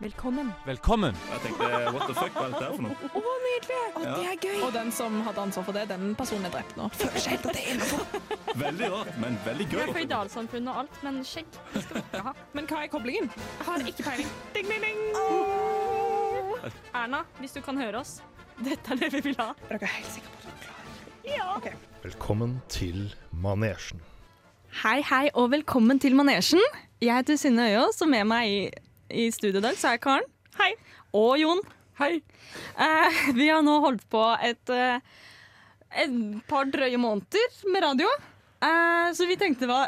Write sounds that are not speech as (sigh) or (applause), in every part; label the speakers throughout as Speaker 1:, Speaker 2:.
Speaker 1: Velkommen.
Speaker 2: Velkommen!
Speaker 3: Jeg tenkte Eh, what the fuck, hva er dette her for noe?
Speaker 1: Å, nydelig!
Speaker 3: Ja.
Speaker 1: Det er gøy.
Speaker 4: Og den som hadde ansvar for det, den personen er drept nå.
Speaker 1: Føler seg helt at det er innenfor.
Speaker 3: Veldig rart, men veldig gøy.
Speaker 5: Jeg er fra Idalsamfunnet og alt, men skjegg det skal vi ikke ha.
Speaker 4: Men hva er koblingen?
Speaker 5: Jeg har ikke peiling. Ding, ding, ding. Erna, hvis du kan høre oss, dette er det vi vil ha.
Speaker 4: Er dere helt sikre på at dere er klare?
Speaker 6: Velkommen til Manesjen.
Speaker 7: Hei, hei, og velkommen til Manesjen. Jeg heter Synne Øyaas, og med meg i, i studio i dag så er Karen. Hei. Og Jon. Hei. vi har nå holdt på et, eh, et par drøye måneder med radio, Eh, så vi tenkte det var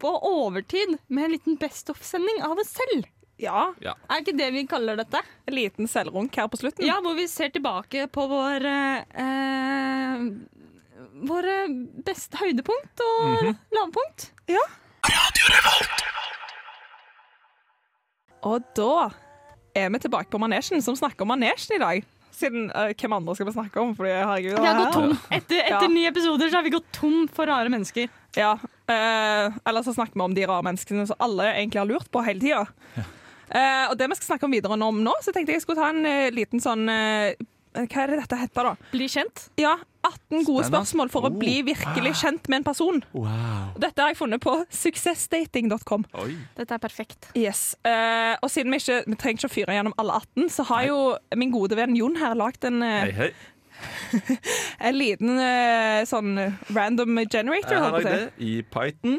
Speaker 7: på overtid med en liten best of-sending av oss selv.
Speaker 4: Ja.
Speaker 7: Er ikke det vi kaller dette?
Speaker 4: En liten selvrunk her på slutten.
Speaker 7: Ja, hvor vi ser tilbake på vår eh, eh, Våre beste høydepunkt og lavpunkt.
Speaker 4: Og da er vi tilbake på manesjen, som snakker om manesjen i dag. Siden eh, hvem andre skal vi snakke om? Fordi, herregud,
Speaker 7: Vi har
Speaker 4: det her-
Speaker 7: gått tom. Etter,
Speaker 4: Ja.
Speaker 7: etter ni episoder så har vi gått tom for rare mennesker.
Speaker 4: Ja. eh, eller så snakker vi om de rare menneskene som alle egentlig har lurt på hele tida. Eh, og det vi skal snakke om videre nå, om nå, så tenkte jeg jeg skulle ta en eh, liten sånn eh, Hva er det dette heter, da?
Speaker 7: Bli kjent.
Speaker 4: Ja, 18 gode
Speaker 2: Spennende.
Speaker 4: spørsmål for
Speaker 2: Oh.
Speaker 4: å bli virkelig kjent med en person.
Speaker 2: Wow.
Speaker 4: Dette har jeg funnet på suksessdating.com.
Speaker 3: Oi.
Speaker 7: Dette er perfekt.
Speaker 4: Yes. eh, og siden vi ikke vi trenger ikke å fyre gjennom alle 18, så har jo min gode venn Jon her lagd en, eh,
Speaker 3: Hei, hei.
Speaker 4: en liten eh, sånn random generator.
Speaker 3: Jeg har
Speaker 4: holdt på å
Speaker 3: lagd
Speaker 4: si.
Speaker 3: det i
Speaker 7: (laughs)
Speaker 3: Python.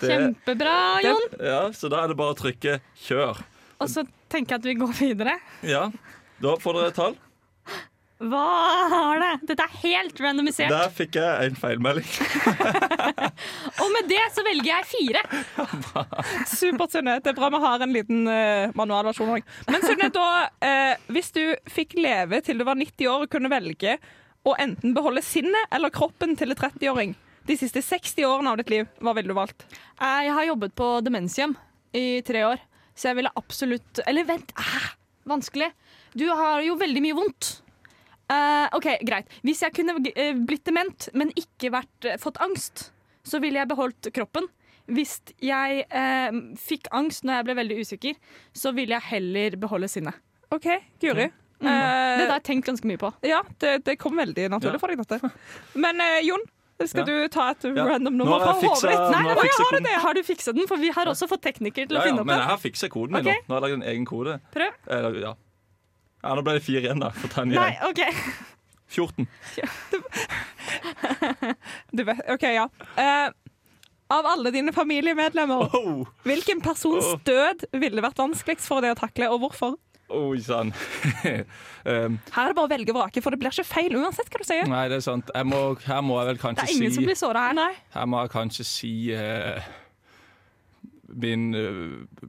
Speaker 3: Det,
Speaker 7: Kjempebra, Jon.
Speaker 3: ja, så da er det bare å trykke 'kjør'.
Speaker 7: Og så tenker jeg at vi går videre.
Speaker 3: Ja, da får dere et tall.
Speaker 7: Hva er det? Dette er helt randomisert.
Speaker 3: Der fikk jeg en feilmelding.
Speaker 7: Og med det så velger jeg fire.
Speaker 4: Supert, Sunne. Det er bra vi har en liten eh, manualversjon òg. Men Sunne, da, eh, hvis du fikk leve til du var 90 år og kunne velge å enten beholde sinnet eller kroppen til en 30-åring de siste 60 årene av ditt liv, hva ville du valgt?
Speaker 7: Eh, Jeg har jobbet på demenshjem i tre år, så jeg ville absolutt Eller vent! Ah, vanskelig. Du har jo veldig mye vondt. Eh, OK, greit. Hvis jeg kunne eh, blitt dement, men ikke vært, eh, fått angst, så ville jeg beholdt kroppen. Hvis jeg eh, fikk angst når jeg ble veldig usikker, så ville jeg heller beholde sinnet.
Speaker 4: OK, Guri.
Speaker 3: Mm.
Speaker 7: Det
Speaker 4: Eh,
Speaker 7: har jeg tenkt ganske mye på.
Speaker 4: ja, det, det kom veldig naturlig
Speaker 3: Ja.
Speaker 4: for deg, dette. Men eh, Jon, skal
Speaker 3: Ja.
Speaker 4: du ta et
Speaker 3: Ja.
Speaker 4: random
Speaker 3: Nå
Speaker 4: nummer
Speaker 3: har
Speaker 4: fra
Speaker 3: jeg
Speaker 4: hodet
Speaker 3: fiksa,
Speaker 4: ditt?
Speaker 3: nå har
Speaker 7: Oi,
Speaker 3: jeg fiksa
Speaker 7: har, du
Speaker 3: koden.
Speaker 7: det? har du fiksa den? For vi har også fått teknikere til
Speaker 3: Ja, ja,
Speaker 7: å finne opp
Speaker 3: men jeg
Speaker 7: den.
Speaker 3: har fiksa koden min
Speaker 7: Ok.
Speaker 3: nå. Nå har jeg lagd en egen kode.
Speaker 7: Prøv.
Speaker 3: Eller, ja. ja, nå ble det fire igjen, da. Få ta en
Speaker 7: Nei,
Speaker 3: igjen.
Speaker 7: OK.
Speaker 3: 14.
Speaker 4: Du vet, OK, ja. Eh, av alle dine familiemedlemmer
Speaker 3: Oh,
Speaker 4: Hvilken persons
Speaker 3: Åh.
Speaker 4: død ville vært vanskeligst for deg å takle, og hvorfor?
Speaker 3: Oi sann. (laughs) um,
Speaker 4: Her er det bare å velge og vrake, for det blir ikke feil uansett hva du sier.
Speaker 2: Nei, det er sant. Jeg må, her må jeg vel
Speaker 7: Det
Speaker 2: kanskje
Speaker 7: er ingen
Speaker 2: si
Speaker 7: som blir såra her. Nei.
Speaker 2: Her må jeg kanskje si eh, min eh,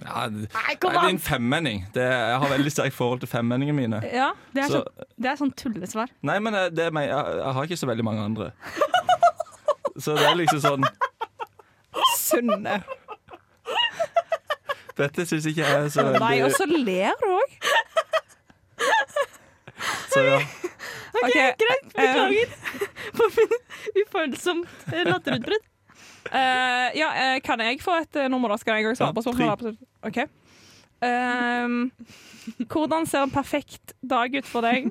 Speaker 2: ja,
Speaker 7: Nei,
Speaker 2: Nei, det
Speaker 7: kom
Speaker 2: er
Speaker 7: an!
Speaker 2: en femmenning. Det, jeg har veldig sterkt forhold til femmenningene mine.
Speaker 7: (laughs)
Speaker 4: Ja.
Speaker 7: Det er,
Speaker 2: Så,
Speaker 7: sånn, det er sånn tullesvar.
Speaker 2: nei, men eh, det er meg. Jeg, jeg har ikke så veldig mange andre. Så det er liksom sånn
Speaker 4: Sunne.
Speaker 2: Dette syns ikke jeg er så
Speaker 4: Nei, og
Speaker 2: veldig
Speaker 4: så ler du òg.
Speaker 2: så, ja.
Speaker 4: greit.
Speaker 7: eh, Beklager (laughs) for min ufølsomt eh, (laughs) latterutbrudd.
Speaker 4: ja, eh, kan jeg få et eh, nummer, da? Skal jeg òg svare på
Speaker 2: Ja,
Speaker 4: spørsmålet? OK. Ehm, hvordan ser en perfekt dag ut for (laughs) deg?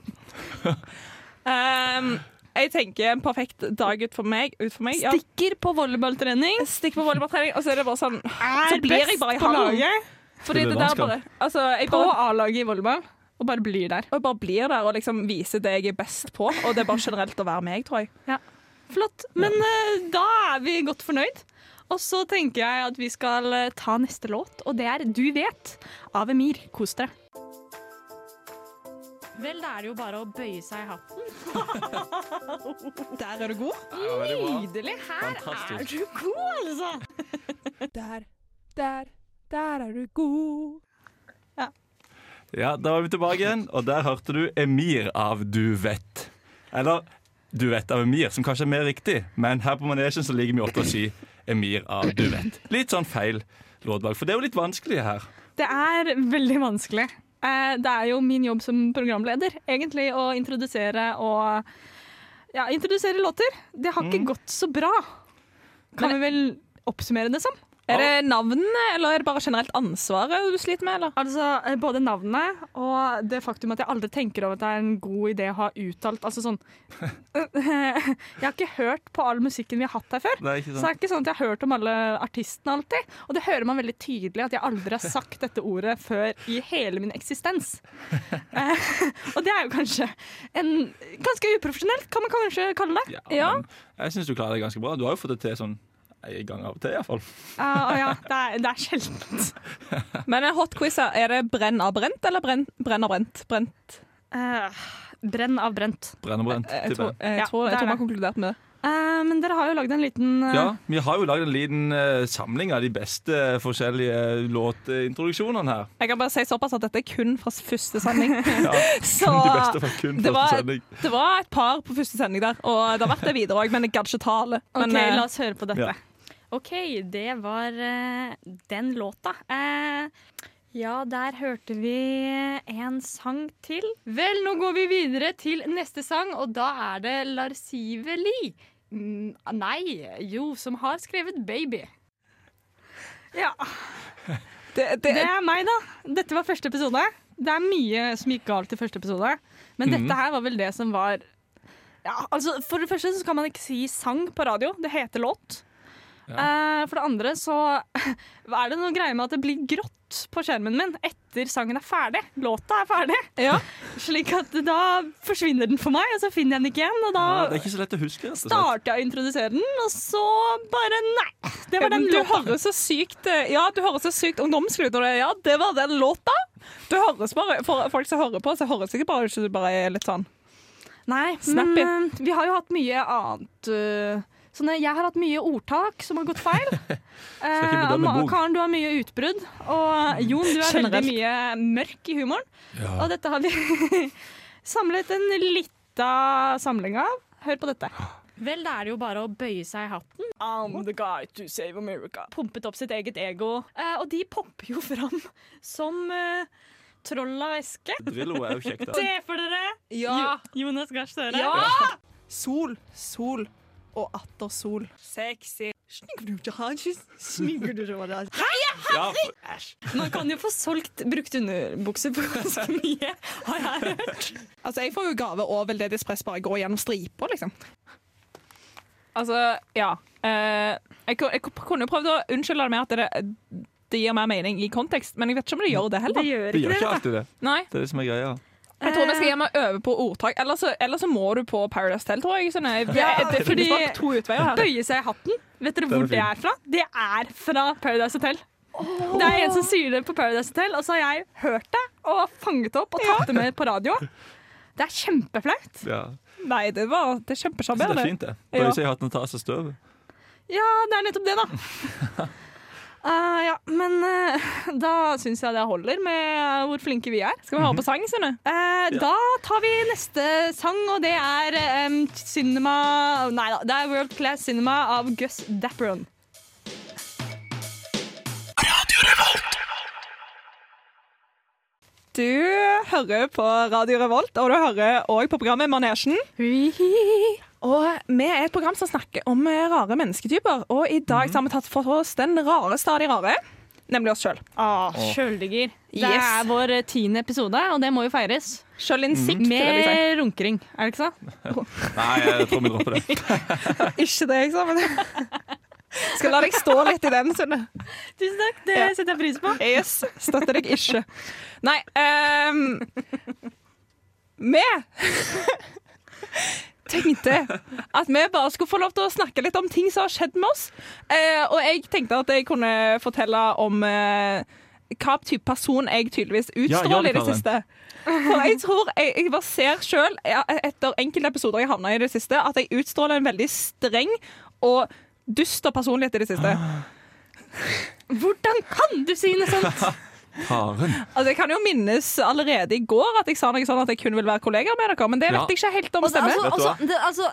Speaker 4: Ehm, jeg tenker en perfekt dag ut for meg. Ut for meg ja.
Speaker 7: Stikker på volleyballtrening.
Speaker 4: Stikk på volleyballtrening, og så er det bare sånn
Speaker 7: Er
Speaker 4: Så blir jeg bare i hallen. Fordi
Speaker 2: Spiller
Speaker 4: det der
Speaker 2: landskamp.
Speaker 4: bare Altså, jeg
Speaker 7: På
Speaker 4: bare
Speaker 7: A-laget i volleyball. Og bare blir der.
Speaker 4: Og jeg bare blir der og liksom viser det jeg er best på. Og det er bare generelt å være meg, tror jeg.
Speaker 7: Flott. Men eh, da er vi godt fornøyd. Og så tenker jeg at vi skal eh, ta neste låt, og det er Du vet av Emir. Kos dere. Vel, da er det jo bare å bøye seg i hatten.
Speaker 4: Der er du god.
Speaker 7: Nydelig. Her er
Speaker 2: Fantastisk.
Speaker 7: du god, altså.
Speaker 4: Der, der, der er du god.
Speaker 2: ja, da var vi tilbake igjen, og der hørte du Emir av Du vet. Eller Du vet av Emir, som kanskje er mer riktig, men her på manesjen så ligger vi oppe og sier Emir av Du vet. Litt sånn feil låtvalg, for det er jo litt vanskelig her.
Speaker 7: Det er veldig vanskelig. Eh, Det er jo min jobb som programleder, egentlig, å introdusere og Ja, introdusere låter. Det har ikke gått så bra, kan vi vel oppsummere det som.
Speaker 4: Er det navnene, eller er det bare generelt ansvaret du sliter med? Eller?
Speaker 7: Altså, eh, Både navnet og det faktum at jeg aldri tenker over at det er en god idé å ha uttalt Altså sånn (laughs) Jeg har ikke hørt på all musikken vi har hatt her før.
Speaker 3: Det er ikke
Speaker 7: Så det er ikke sånn at jeg har hørt om alle artistene alltid. Og det hører man veldig tydelig at jeg aldri har sagt dette ordet før i hele min
Speaker 3: (laughs)
Speaker 7: eksistens. Eh, (laughs) og det er jo kanskje en Ganske uprofesjonelt, kan man kanskje kalle det.
Speaker 4: Ja.
Speaker 3: men Jeg syns du klarer det ganske bra. Du har jo fått det til sånn en gang av og til, iallfall.
Speaker 7: Ja, Eh, og ja, det er, det er sjeldent.
Speaker 4: Men eh, hot quiz, her, er det brenn av brent, eller brenn, brenn av brent? Brent.
Speaker 7: Eh, brenn av brent.
Speaker 3: Brennebrent.
Speaker 4: Eh, Jeg
Speaker 3: tipper
Speaker 4: tror,
Speaker 3: jeg.
Speaker 4: jeg
Speaker 7: Ja,
Speaker 4: tror,
Speaker 7: det
Speaker 4: jeg tror vi
Speaker 7: er det.
Speaker 4: har konkludert med det.
Speaker 7: Eh, men dere har jo lagd en liten eh,
Speaker 3: Ja, vi har jo lagd en liten eh, samling av de beste forskjellige låtintroduksjonene her.
Speaker 4: Jeg kan bare si såpass at dette er kun fra første (laughs) sending.
Speaker 3: Ja,
Speaker 4: Så
Speaker 3: (laughs) De beste var kun
Speaker 4: det
Speaker 3: første
Speaker 4: var-
Speaker 3: sending.
Speaker 4: det var et par på første sending der, og det har vært det videre òg, men jeg gadd ikke ta alle. Men,
Speaker 7: OK,
Speaker 4: eh,
Speaker 7: la oss høre på dette.
Speaker 3: Ja.
Speaker 5: OK, det var eh, den låta. Eh, ja, der hørte vi en sang til.
Speaker 7: Vel, nå går vi videre til neste sang, og da er det Larsive Li. Mm, Nei, jo, som har skrevet 'Baby'. Ja,
Speaker 4: det, det,
Speaker 7: det er meg, da. Dette var første episode. Det er mye som gikk galt i første episode,
Speaker 3: Mhm.
Speaker 7: men dette her var vel det som var ja, altså For det første så kan man ikke si sang på radio. Det heter låt. Eh, for det andre så (laughs) hva er det noe greier med at det blir grått på skjermen min etter sangen er ferdig. Låta er ferdig.
Speaker 4: ja.
Speaker 7: (laughs) Slik at da forsvinner den for meg, og så finner jeg den ikke igjen. Og da
Speaker 4: Ah.
Speaker 3: Ja, det er ikke så lett å huske, rett og slett.
Speaker 7: starter jeg å introdusere den, og så bare nei. Det var
Speaker 4: eh, Men
Speaker 7: den
Speaker 4: du
Speaker 7: låta.
Speaker 4: høres så sykt eh, Ja, du høres så sykt ungdomsklut når du er Ja, det var den låta! Du høres bare, For folk som hører på, så høres ikke bare ikke du bare er litt sånn
Speaker 7: Nei,
Speaker 4: Snappy.
Speaker 7: men eh, vi har jo hatt mye annet eh, sånne, Jeg har hatt mye ordtak som har gått feil.
Speaker 3: ikke
Speaker 7: Eh,
Speaker 3: bedømme
Speaker 7: Ma-
Speaker 3: bok.
Speaker 7: Karen, du har mye utbrudd. Og Jon, du er veldig
Speaker 4: Generelt.
Speaker 7: mye mørk i humoren. Og dette har vi (laughs) samlet en lita samling av. Hør på dette.
Speaker 5: Vel, da er det jo bare å bøye seg i hatten.
Speaker 7: I'm the guy to save America.
Speaker 5: Pumpet opp sitt eget ego. Eh, og de popper jo fram som eh, troll av væske.
Speaker 3: Drillo er jo kjekt, da.
Speaker 5: Se for dere
Speaker 4: Ja!
Speaker 5: Jo- Jonas Gahr Støre.
Speaker 1: Sol, sol og atter sol. Sexy. Snikker du ikke hans? Snikker du ikke hans?
Speaker 3: Ja, for-
Speaker 5: Man kan jo få solgt brukt underbukser for ganske mye, har jeg hørt.
Speaker 1: Altså, jeg får jo gave og veldedig press bare går gjennom striper, liksom.
Speaker 4: Altså, ja. Eh, jeg, ku- jeg ku- kunne jo prøvd å unnskylde det med at det, det gir mer mening i kontekst, men jeg vet ikke om det gjør det heller.
Speaker 5: gjør
Speaker 3: det gjør ikke alltid det.
Speaker 4: Nei.
Speaker 3: Det er det som er greia.
Speaker 4: Jeg tror vi skal hjem og øve på ordtak, ellers så, ellers så må du på Paradise Tell, tror jeg. Sånn, eh, det, det finnes
Speaker 7: fordi-
Speaker 4: bare to utveier her.
Speaker 7: Bøye seg i hatten. Vet dere
Speaker 3: Den
Speaker 7: hvor
Speaker 3: er
Speaker 7: det er fra? Det er fra Paradise Hotel. Det er en som sier det på Paradise Hotel, og så har jeg hørt det og fanget opp og tatt det med på radio. Det er kjempeflaut.
Speaker 3: Ja.
Speaker 4: Nei, det,
Speaker 3: Så
Speaker 4: var, det er
Speaker 3: det
Speaker 4: kjempesjarmerende.
Speaker 3: er fint, det.
Speaker 4: Ja.
Speaker 3: Bøye seg i hatten og ta av seg støvet.
Speaker 7: Ja, det er nettopp det, da. (laughs) Eh, ja, men eh, da syns jeg det holder med hvor flinke vi er.
Speaker 4: Skal vi høre på sang, Synne?
Speaker 7: Eh, Da tar vi neste sang, og det er em, Cinema Nei da, det er World Class Cinema av Gus Dapperon.
Speaker 4: Du hører på Radio Revolt, og du hører òg på programmet Manesjen. Og vi er et program som snakker om eh, rare mennesketyper, og i
Speaker 3: Mhm.
Speaker 4: dag så har vi tatt for oss den rare stadig rare, nemlig oss sjøl.
Speaker 7: Ah, Sjøldigger. Det
Speaker 4: Yes.
Speaker 7: er vår eh, tiende episode, og det må jo feires.
Speaker 3: Mhm.
Speaker 4: Sjølinnsikt, vil jeg si.
Speaker 7: Med runkering, er det ikke så?
Speaker 3: Nei, jeg tror vi dropper det.
Speaker 4: Ikke det eksamen. Skal la deg stå litt i den, Sunne.
Speaker 7: Tusen takk, det
Speaker 4: Ja.
Speaker 7: setter jeg pris på.
Speaker 4: Yes, støtter deg ikke. Nei ehm, Vi tenkte at vi bare skulle få lov til å snakke litt om ting som har skjedd med oss. Eh, og jeg tenkte at jeg kunne fortelle om eh, hva type person jeg tydeligvis
Speaker 3: Ja, gjør
Speaker 4: utstråler
Speaker 3: det,
Speaker 4: i det
Speaker 3: Karen.
Speaker 4: siste. For jeg tror jeg, jeg bare ser sjøl, etter enkelte episoder jeg havna i det siste, at jeg utstråler en veldig streng og dyster personlighet i det siste.
Speaker 7: Hvordan kan du si noe sånt?
Speaker 3: Karen.
Speaker 4: Altså, jeg kan jo minnes allerede i går at jeg sa noe sånn at jeg kun vil være kollegaer med dere, men det vet
Speaker 3: Ja.
Speaker 4: jeg ikke helt om
Speaker 7: Og det,
Speaker 4: stemmer.
Speaker 7: altså, altså, det, altså,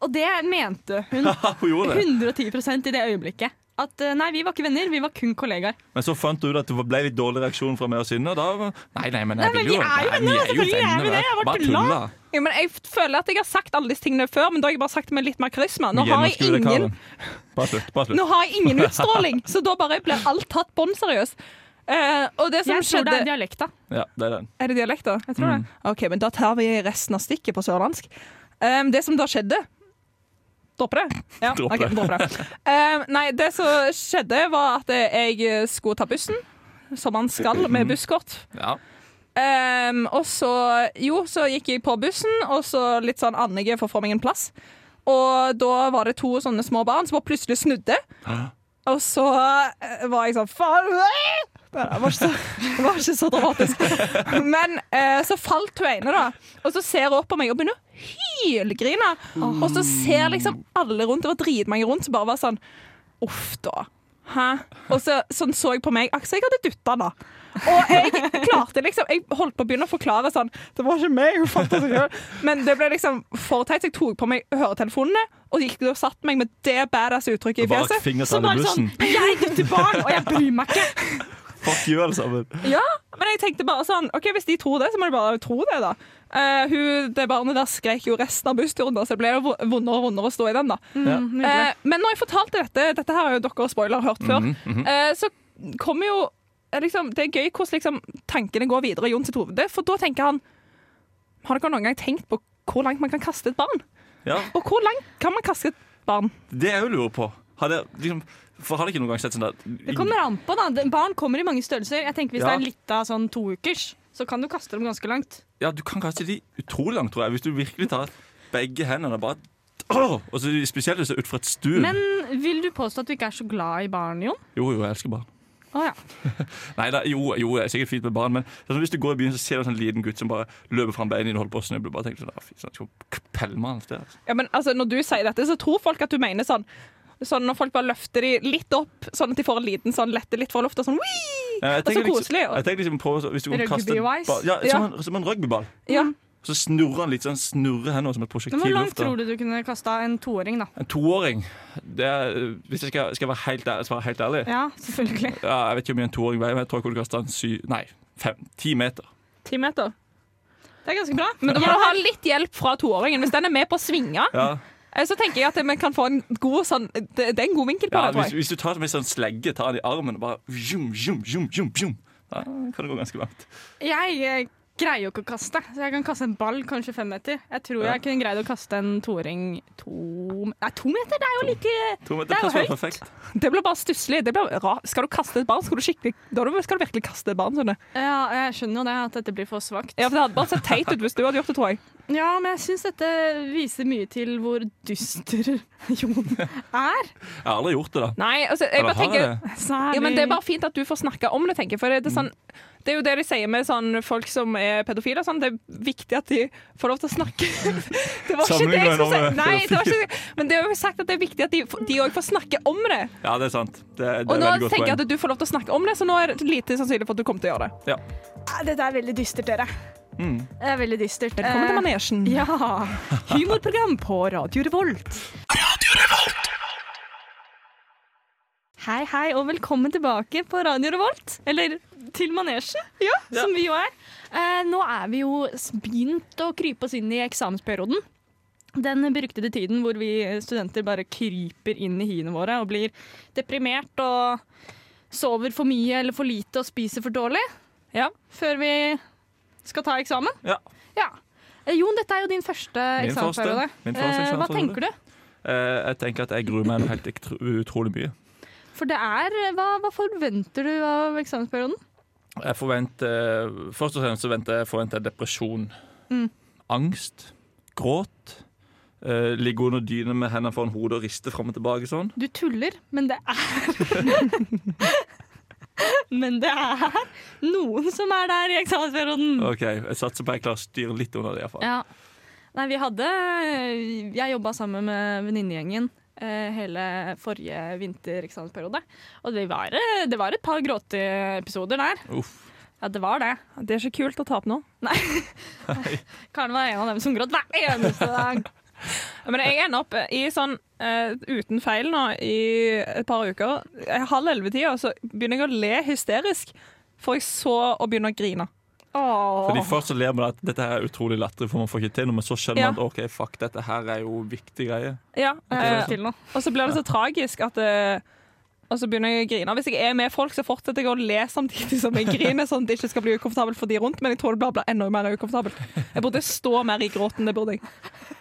Speaker 7: og det mente hun
Speaker 3: Hun gjorde det.
Speaker 7: 110 i det øyeblikket. at eh, nei, vi var ikke venner, vi var kun kollegaer.
Speaker 3: Men så fant du ut at det ble litt dårlig reaksjon fra meg og Synne. og Da, nei, nei, men jeg
Speaker 7: Nei, men
Speaker 3: vil jo
Speaker 7: vi er jo
Speaker 3: nei,
Speaker 7: venner, selvfølgelig er vi
Speaker 3: vet du.
Speaker 7: det, jeg bare
Speaker 3: Bare
Speaker 7: tulla.
Speaker 3: tulla.
Speaker 5: altså-
Speaker 4: Ja, men jeg føler at jeg har sagt alle disse tingene før, men da har jeg bare sagt det med litt mer karisma. Nå har
Speaker 3: Gjennomskue
Speaker 4: jeg
Speaker 3: det,
Speaker 4: ingen,
Speaker 3: Karen. Bare slutt. bare slutt.
Speaker 4: nå har jeg ingen utstråling, så da bare blir alt tatt bånn seriøst. Eh, og det som
Speaker 5: Jeg tror det
Speaker 4: skjedde
Speaker 5: er dialekta.
Speaker 3: Ja, det er den.
Speaker 4: Er det dialekt, da? Jeg tror det. OK, men da tar vi resten av stikket på sørlandsk. Um, det som da skjedde Dropper det? Ja,
Speaker 3: Dropp
Speaker 4: ok,
Speaker 3: det.
Speaker 4: dropper det. Um, nei, det som skjedde, var at jeg skulle ta bussen, som man skal med busskort.
Speaker 3: Ja.
Speaker 4: Um, og så Jo, så gikk jeg på bussen, og så litt sånn andlige for å få meg en plass. Og da var det to sånne små barn som bare plutselig snudde. Og så eh, var jeg sånn Faen! Nei, Det var, ikke så, det var
Speaker 7: sånn
Speaker 4: ikke så dramatisk. Men eh, så falt hun ene, da. Og så ser hun opp på meg og begynner å hylgrine. Og så ser liksom alle rundt, det var dritmange rundt, som bare var sånn Uff, da. Hæ? Og så, sånn så jeg på meg. Aksel, jeg hadde dutta nå. Og jeg klarte liksom Jeg holdt på å begynne å forklare sånn Det var ikke meg, hun fant det selv. Men det ble liksom for teit. så Jeg tok på meg høretelefonene og gikk og satte meg med det badass uttrykket i
Speaker 3: Bak
Speaker 4: fjeset.
Speaker 3: fingertall i bussen.
Speaker 7: sånn, (laughs) Jeg dytter barn, og jeg bryr meg ikke! (laughs)
Speaker 3: Fuck you, alle sammen.
Speaker 4: Ja, men jeg tenkte bare sånn Ok, hvis de tror det, så må de bare tro det, da. Eh, hun, det barnet der skrek jo resten av bussturen, da, så det ble jo vo- vondere og vondere å stå i den, da. Eh, men når jeg fortalte dette, dette her har jo dere spoiler hørt før,
Speaker 3: Mm, Mhm,
Speaker 4: eh, så kommer jo eh, liksom, Det er gøy hvordan liksom, tankene går videre i Jon sitt hode, for da tenker han Har dere noen gang tenkt på hvor langt man kan kaste et barn?
Speaker 3: Ja,
Speaker 4: Og hvor langt kan man kaste et barn?
Speaker 3: det er jeg jo lurer på. Har dere liksom, for har dere ikke noen gang sett sånn at
Speaker 7: Det kommer an på, da. Det- Barn kommer i mange størrelser. Jeg tenker Hvis
Speaker 3: Ja.
Speaker 7: det er litt av sånn toukers, så kan du kaste dem ganske langt.
Speaker 3: Ja, du kan kaste de utrolig langt, tror jeg. Hvis du virkelig tar begge hendene og bare (clears throat) Åh! Og så spesielt hvis det er ut fra et stup.
Speaker 7: Men vil du påstå at du ikke er så glad i barn, Jon?
Speaker 3: Jo, jo, jeg elsker barn.
Speaker 7: Å, ja.
Speaker 3: Nei da, jo, jo, det er sikkert fint med barn, men det er sånn, hvis du går i byen, så ser du en sånn liten gutt som bare løper fram beina dine og holder på å snuble. Bare tenker sånn, ah, fy søren, skal jeg pelle meg et sted.
Speaker 4: Ja, men altså, Når du sier dette, så tror folk at du mener sånn Sånn Når folk bare løfter de litt opp, sånn at de får en liten sånn lette litt fra lufta. Sånn, «Wii!»
Speaker 3: Nei, jeg
Speaker 4: Og så
Speaker 3: tenker liksom-
Speaker 4: koselig, og-
Speaker 3: Jeg tenker liksom prøve så- hvis du kan kaste
Speaker 7: altså. Rugby-wise.
Speaker 3: ba- Ja,
Speaker 4: Ja.
Speaker 3: som, En, som en rugbyball.
Speaker 4: ja.
Speaker 7: Mm.
Speaker 3: Så snurrer han litt sånn, snurrer hendene som et prosjektil.
Speaker 7: Men hvor
Speaker 3: i
Speaker 7: langt
Speaker 3: lufta.
Speaker 7: tror du du kunne kasta en toåring, da?
Speaker 3: En toåring det er, Hvis jeg skal, skal jeg være helt ærlig, svare helt ærlig
Speaker 7: Ja, selvfølgelig.
Speaker 3: ja, Jeg vet ikke hvor mye en toåring veier, men jeg tror jeg kunne kaste en syv Nei, fem, ti meter.
Speaker 4: Ti meter.
Speaker 7: Det er ganske bra.
Speaker 4: Men da må du ha litt hjelp fra toåringen. Hvis den er med på å svinge,
Speaker 3: Ja,
Speaker 4: eh, så tenker jeg at vi kan få en god sånn Det, det er en god vinkel på
Speaker 3: ja
Speaker 4: det,
Speaker 3: hvis,
Speaker 4: tror jeg.
Speaker 3: hvis du tar det med sånn slegge, tar den i armen og bare zoom, zoom, zoom, zoom, zoom. Da kan det gå ganske langt.
Speaker 7: Jeg eh, greier jo ikke å kaste, så jeg kan kaste en ball kanskje fem meter. Jeg tror
Speaker 3: Ja.
Speaker 7: jeg kunne greid å kaste en toåring to Nei, to meter! Det er jo like
Speaker 3: To meter
Speaker 7: Det er jo
Speaker 3: passer
Speaker 7: høyt.
Speaker 3: perfekt.
Speaker 4: Det blir bare stusslig. Det blir ra- Skal du kaste et barn, skal du, skikkelig, da skal du virkelig kaste et barn. Sånn.
Speaker 7: Ja, jeg skjønner jo det, at dette blir for svakt.
Speaker 4: Ja, for Det hadde bare sett teit ut hvis du hadde gjort det, tror jeg.
Speaker 7: Ja, men jeg syns dette viser mye til hvor dyster (laughs) Jon er.
Speaker 3: Jeg har aldri gjort det, da.
Speaker 4: Nei, altså, jeg
Speaker 3: Eller
Speaker 4: bare
Speaker 3: har
Speaker 4: tenker
Speaker 3: jeg det?
Speaker 7: Særlig
Speaker 4: Ja, men Det er bare fint at du får snakke om det. tenker jeg, for det, er sånn, det er jo det de sier med sånn, folk som er pedofile. og Sånn, det er viktig at de får lov til å snakke. (laughs) Det var ikke det jeg
Speaker 3: Sammenligner
Speaker 4: skulle
Speaker 3: nå
Speaker 4: si.
Speaker 3: med
Speaker 4: Nei, det var ikke, men det er jo sagt at det er viktig at de f- de òg får snakke om det.
Speaker 3: Ja, det er sant. Det, det er
Speaker 4: Og nå
Speaker 3: veldig godt
Speaker 4: tenker jeg
Speaker 3: poeng.
Speaker 4: at du får lov til å snakke om det, så nå er det lite sannsynlig for at du kommer til å gjøre det.
Speaker 3: Ja.
Speaker 7: Dette er veldig dystert, dere. Det er veldig dystert.
Speaker 4: Velkommen til manesjen.
Speaker 7: Eh, Ja. (laughs) Humorprogram på Radio Revolt. Hei, hei, og velkommen tilbake på Radio Revolt. Eller til manesje, som vi jo er. Eh, nå er vi jo s- begynt å krype oss inn i eksamensperioden. Den beryktede tiden hvor vi studenter bare kryper inn i hiene våre og blir deprimert og sover for mye eller for lite og spiser for dårlig
Speaker 4: Ja.
Speaker 7: før vi skal ta eksamen.
Speaker 3: Ja.
Speaker 7: Ja. Eh, Jon, dette er jo din første
Speaker 3: Min første.
Speaker 7: eksamensperiode.
Speaker 3: Min første
Speaker 7: Eh, Hva
Speaker 3: eksamensperiode.
Speaker 7: tenker du?
Speaker 3: Eh, jeg tenker at jeg gruer meg helt utro- utrolig mye.
Speaker 7: For det er eh, Hva, hva forventer du av eksamensperioden?
Speaker 3: Jeg forventer eh, Først og fremst så venter jeg, forventer jeg depresjon.
Speaker 7: Mm.
Speaker 3: Angst. Gråt. eh, ligge under dyna med hendene foran hodet og riste fram og tilbake sånn.
Speaker 7: Du tuller, men det er (laughs) Men det er noen som er der i eksamensperioden.
Speaker 3: OK, jeg satser på at jeg klarer å styre litt under det, iallfall.
Speaker 7: Mm. Ja. Nei, vi hadde Jeg jobba sammen med venninnegjengen eh, hele forrige vintereksamensperiode. Og det var, eh, det var et par gråteepisoder der.
Speaker 3: Uff.
Speaker 7: Ja, det var det.
Speaker 4: Det er ikke kult å tape nå.
Speaker 7: Karen var en av dem som gråt hver eneste dag.
Speaker 4: Men jeg ender opp i sånn eh, uten feil nå i et par uker. Eh, Halv elleve-tida så begynner jeg å le hysterisk, for jeg så å begynne å grine.
Speaker 2: Fordi Først så ler man at dette her er utrolig latterlig, for man får ikke til noe, men så skjønner man
Speaker 4: Ja.
Speaker 2: at ok, fuck, dette her er jo viktig greie.
Speaker 4: Ja, eh,
Speaker 7: Til nå.
Speaker 4: og så blir det så tragisk at eh, Og så begynner jeg å grine. Hvis jeg er med folk, så fortsetter jeg å le samtidig som jeg griner, sånn at det ikke skal bli ukomfortabelt for de rundt, men jeg tror det blir- blir enda mer ukomfortabelt. Jeg burde stå mer i gråten. Det burde jeg.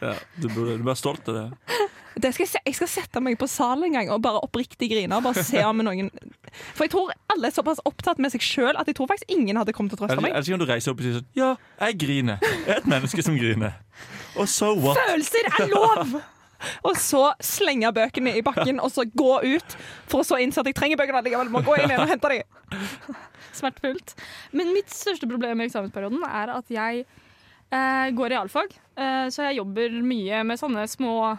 Speaker 2: Ja, du burde du bør være stolt av det.
Speaker 4: Det skal jeg, se, jeg skal sette meg på salen en gang og bare oppriktig grine. og bare se om noen... For jeg tror alle er såpass opptatt med seg sjøl at jeg tror faktisk ingen hadde kommet til å trøste
Speaker 2: Ellers
Speaker 4: meg.
Speaker 2: ellers kan du reise opp og si sånn Ja, jeg griner. Jeg er et menneske som griner. Og so what?
Speaker 4: Følelser er lov! Og så slenge bøkene i bakken og så gå ut, for å så innse at jeg trenger bøkene likevel. Må gå inn igjen og hente dem.
Speaker 7: (laughs) Smertefullt. Men mitt største problem i eksamensperioden er at jeg eh, går realfag, eh, så jeg jobber mye med sånne små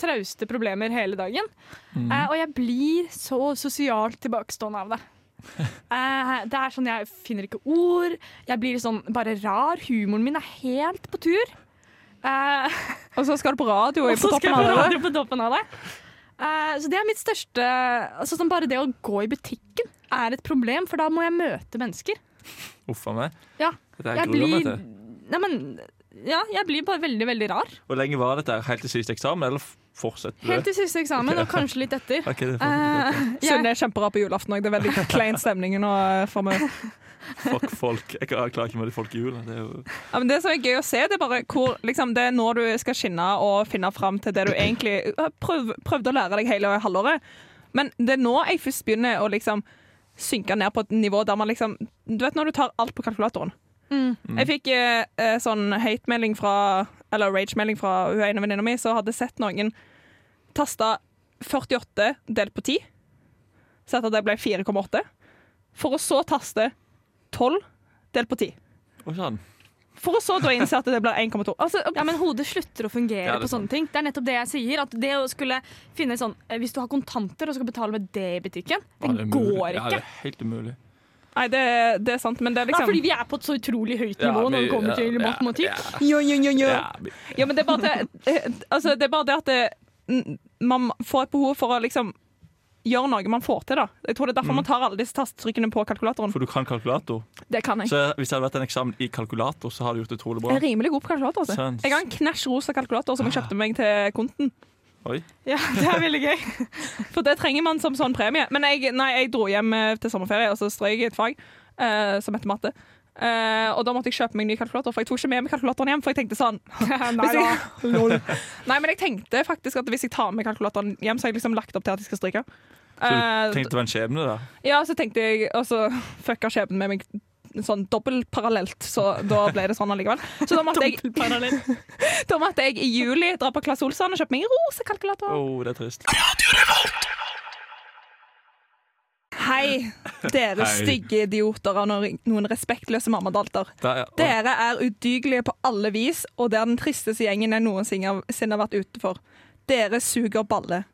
Speaker 7: trauste problemer hele dagen.
Speaker 4: Mm.
Speaker 7: Eh, og jeg blir så sosialt tilbakestående
Speaker 4: (laughs)
Speaker 7: av det. Eh, det er sånn Jeg finner ikke ord. Jeg blir sånn bare rar. Humoren min er helt på tur. Eh,
Speaker 4: Og så skal du på radio.
Speaker 7: og
Speaker 4: Og
Speaker 7: så
Speaker 4: på
Speaker 7: skal
Speaker 4: toppen
Speaker 7: jeg på
Speaker 4: av det.
Speaker 7: radio på toppen av det. Eh, så det er mitt største altså sånn Bare det å gå i butikken er et problem, for da må jeg møte mennesker.
Speaker 2: Uff a meg.
Speaker 7: Ja,
Speaker 2: Dette her
Speaker 7: Jeg
Speaker 2: gruer meg
Speaker 7: blir
Speaker 2: til.
Speaker 7: Nei, men ja, jeg blir bare veldig, veldig rar.
Speaker 2: Hvor lenge var dette? her? Helt til siste eksamen, eller f- fortsetter du?
Speaker 7: Helt til siste eksamen, og kanskje litt
Speaker 2: (laughs)
Speaker 7: etter.
Speaker 2: Ok, det fortsetter.
Speaker 7: Eh, jeg,
Speaker 4: Sunne er kjemperar på julaften òg. Det er veldig klein stemning nå eh, for meg.
Speaker 2: Fuck folk. Jeg klarer ikke med de folk i jula. Det er jo
Speaker 4: Ja, men det som er gøy å se, det er bare hvor liksom, Det er når du skal skinne og finne fram til det du egentlig øh, prøv, prøvde å lære deg hele halvåret. Men det er nå jeg først begynner å liksom synke ned på et nivå der man liksom Du vet når du tar alt på kalkulatoren. Jeg fikk eh, eh, sånn hate-melding fra Eller rage-melding fra hun ene venninna mi som hadde sett noen tasta 48 delt på 10, sett at det ble 4,8, for å så taste 12 delt på 10.
Speaker 2: Å, sånn.
Speaker 4: For å så da innse at det blir 1,2. Altså,
Speaker 7: ja, men hodet slutter å fungere
Speaker 2: Ja, det er
Speaker 7: på sånne ting. Det er nettopp det jeg sier. At det å skulle finne sånn eh, Hvis du har kontanter og skal betale med det i butikken,
Speaker 2: Ja,
Speaker 7: det,
Speaker 2: er umulig.
Speaker 7: går
Speaker 2: Ja, det
Speaker 7: ikke.
Speaker 2: er helt umulig.
Speaker 4: Nei, det, det er sant, men det er
Speaker 7: Ja,
Speaker 4: liksom
Speaker 7: fordi vi er på et så utrolig høyt
Speaker 2: Ja,
Speaker 7: nivå når
Speaker 2: vi-
Speaker 7: det kommer
Speaker 2: ja,
Speaker 7: til
Speaker 2: ja,
Speaker 7: matematikk.
Speaker 1: Jo, jo, jo, jo.
Speaker 2: Ja, vi-
Speaker 4: Ja, men det er bare det, eh, altså, det, er bare det at det, n- man får et behov for å liksom gjøre noe man får til, da. Jeg tror det er derfor man tar alle disse tasttrykkene på kalkulatoren.
Speaker 2: For du kan kalkulator.
Speaker 4: Det kan jeg.
Speaker 2: Så hvis det hadde vært en eksamen i kalkulator, så hadde du gjort det utrolig
Speaker 4: Jeg
Speaker 2: bra.
Speaker 4: er rimelig god på kalkulator. Altså.
Speaker 2: Sans.
Speaker 4: Jeg har en knæsj rosa kalkulator som jeg kjøpte meg til konten.
Speaker 2: Oi.
Speaker 4: Ja, (laughs) Det er veldig gøy. For det trenger man som sånn premie. Men jeg, nei, jeg dro hjem eh, til sommerferie, og så strøk jeg i et fag eh, som heter matte. Eh, og da måtte jeg kjøpe meg ny kalkulator, for jeg tok ikke med meg kalkulatoren hjem. For jeg tenkte sånn (laughs) Hvis jeg, Lol. (laughs) Nei, men jeg tenkte faktisk at hvis jeg tar med kalkulatoren hjem, så har jeg liksom lagt opp til at jeg skal stryke.
Speaker 2: Så
Speaker 4: Eh,
Speaker 2: du tenkte det var en skjebne, da?
Speaker 4: ja, så tenkte jeg Og så (laughs) fucka skjebnen med meg sånn dobbeltparallelt, så da ble det sånn allikevel. Så da (laughs) måtte, jeg, da måtte jeg i juli dra på Klasse Olsson og kjøpe meg en rosa kalkulator.
Speaker 2: Å, det er trist.
Speaker 4: Hei, dere
Speaker 2: Hei.
Speaker 4: stygge idioter og noen- noen respektløse mammadalter.
Speaker 2: Der, ja. Å,
Speaker 4: Dere er udygelige på alle vis, og det er den tristeste gjengen jeg noensinne har- sinne har vært ute for. Dere suger balle.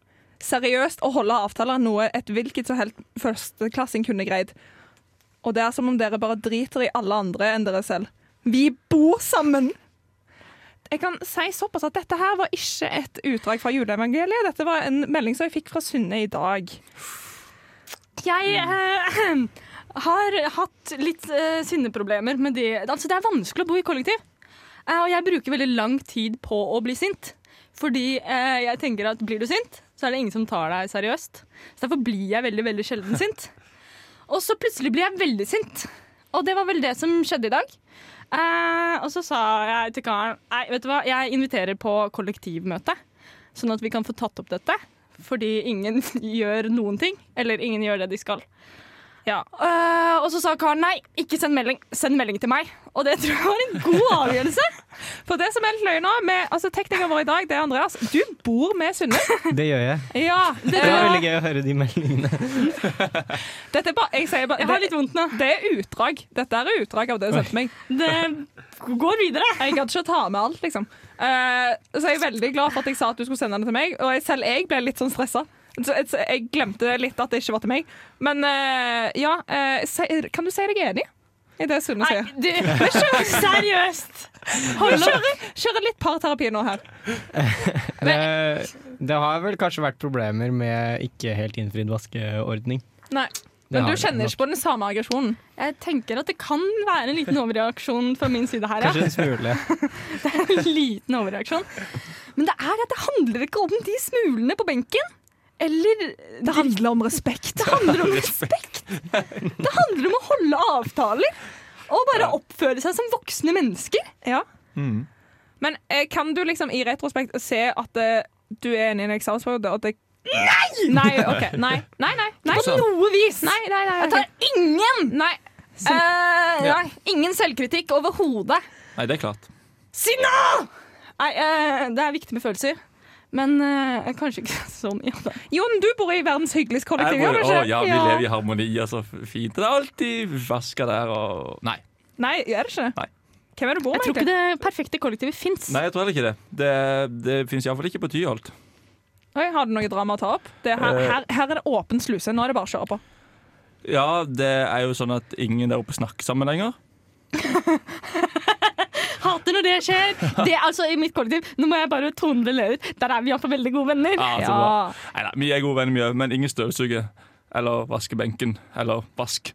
Speaker 4: Seriøst, å holde avtaler er noe et hvilket som helst førsteklassing kunne greid. Og det er som om dere bare driter i alle andre enn dere selv. Vi bor sammen! Jeg kan si såpass at dette her var ikke et utdrag fra juleevangeliet. Dette var en melding som jeg fikk fra Sunne i dag.
Speaker 7: Jeg eh, (clears throat) har hatt litt eh, sinneproblemer med de Altså, det er vanskelig å bo i kollektiv. Eh, og jeg bruker veldig lang tid på å bli sint. Fordi eh, jeg tenker at blir du sint, så er det ingen som tar deg seriøst. Så derfor blir jeg veldig, veldig sjelden sint. Og så plutselig blir jeg veldig sint. Og det var vel det som skjedde i dag. Eh, og så sa jeg til karen Nei, vet du hva, jeg inviterer på kollektivmøte. Sånn at vi kan få tatt opp dette. Fordi ingen (laughs) gjør noen ting. Eller ingen gjør det de skal. Ja. eh, og så sa karen nei, ikke send melding. Send melding til meg. Og det tror jeg var en god avgjørelse.
Speaker 4: For det som er litt løgn nå, med altså, teknikeren vår i dag, det er Andreas. Du bor med Sunne.
Speaker 8: Det gjør jeg.
Speaker 4: Ja,
Speaker 8: Det er veldig gøy å høre de
Speaker 4: (laughs)
Speaker 8: meldingene.
Speaker 4: Dette er bare, jeg sier bare,
Speaker 7: Jeg har litt vondt nå.
Speaker 4: Det er utdrag. Dette er utdrag av det du sendte meg.
Speaker 7: Det går videre.
Speaker 4: Jeg gadd ikke å ta med alt, liksom. Eh, så jeg er veldig glad for at jeg sa at du skulle sende det til meg, og jeg, selv jeg ble litt sånn stressa. Så jeg- så jeg glemte litt at det ikke var til meg. Men eh, ja, eh, si- kan du si deg enig? i det Sunne sier.
Speaker 7: du, men kjør, seriøst!
Speaker 4: Hold- Kjører, kjører litt parterapi nå her.
Speaker 8: Det, Eh, det har vel kanskje vært problemer med ikke helt innfridd vaskeordning.
Speaker 4: Nei,
Speaker 8: Det
Speaker 4: Men
Speaker 8: har
Speaker 4: du
Speaker 8: det
Speaker 4: kjenner
Speaker 8: nok.
Speaker 4: ikke på den samme aggresjonen.
Speaker 7: Jeg tenker at det kan være en liten overreaksjon fra min side her.
Speaker 8: Kanskje en smule.
Speaker 7: Ja. (laughs) En liten overreaksjon. Men det er at det handler ikke om de smulene på benken. Eller Det handler om
Speaker 4: (laughs)
Speaker 7: respekt. Det handler om respekt. Det handler om å holde avtaler. Og bare oppføre seg som voksne mennesker.
Speaker 4: Ja.
Speaker 3: Mm.
Speaker 4: Men eh, kan du liksom i retrospekt se at eh, du er inne i en eksamensperiode, og at det Nei! Nei, ok, nei, nei, nei, nei.
Speaker 7: På noe vis.
Speaker 4: Nei, nei, nei,
Speaker 7: Jeg tar ingen
Speaker 4: nei.
Speaker 7: eh, Nei, ingen selvkritikk overhodet.
Speaker 3: Nei, det er klart.
Speaker 7: Sinna! Nei, eh, det er viktig med følelser. Men eh, kanskje ikke (laughs) sånn. Ja, da.
Speaker 4: Jon, du bor i verdens hyggeligste kollektiv,
Speaker 3: Jeg bare,
Speaker 4: gjør du
Speaker 3: å,
Speaker 4: ikke?
Speaker 3: ja, vi lever i harmoni, altså. Fint. Det er alltid vasker der og Nei.
Speaker 4: Nei, er det ikke?
Speaker 3: Nei.
Speaker 4: Hvem er det du bor med?
Speaker 7: Jeg tror ikke
Speaker 4: egentlig?
Speaker 7: det perfekte kollektivet fins.
Speaker 3: Nei, jeg tror heller ikke det. Det, det fins iallfall ikke på Tyholt.
Speaker 4: Oi, har du noe drama å ta opp? Det er her,
Speaker 3: Eh.
Speaker 4: her, her er det åpen sluse. Nå er det bare å kjøre på.
Speaker 3: Ja, det er jo sånn at ingen der oppe snakker sammen lenger.
Speaker 7: Hater når det skjer. Det er altså i mitt kollektiv. Nå må jeg bare tone det litt ut. Der er vi iallfall veldig gode venner.
Speaker 3: Ja, Ah, så bra. Neida, vi er gode venner, vi òg, men ingen støvsuger. Eller vasker benken. Eller vask.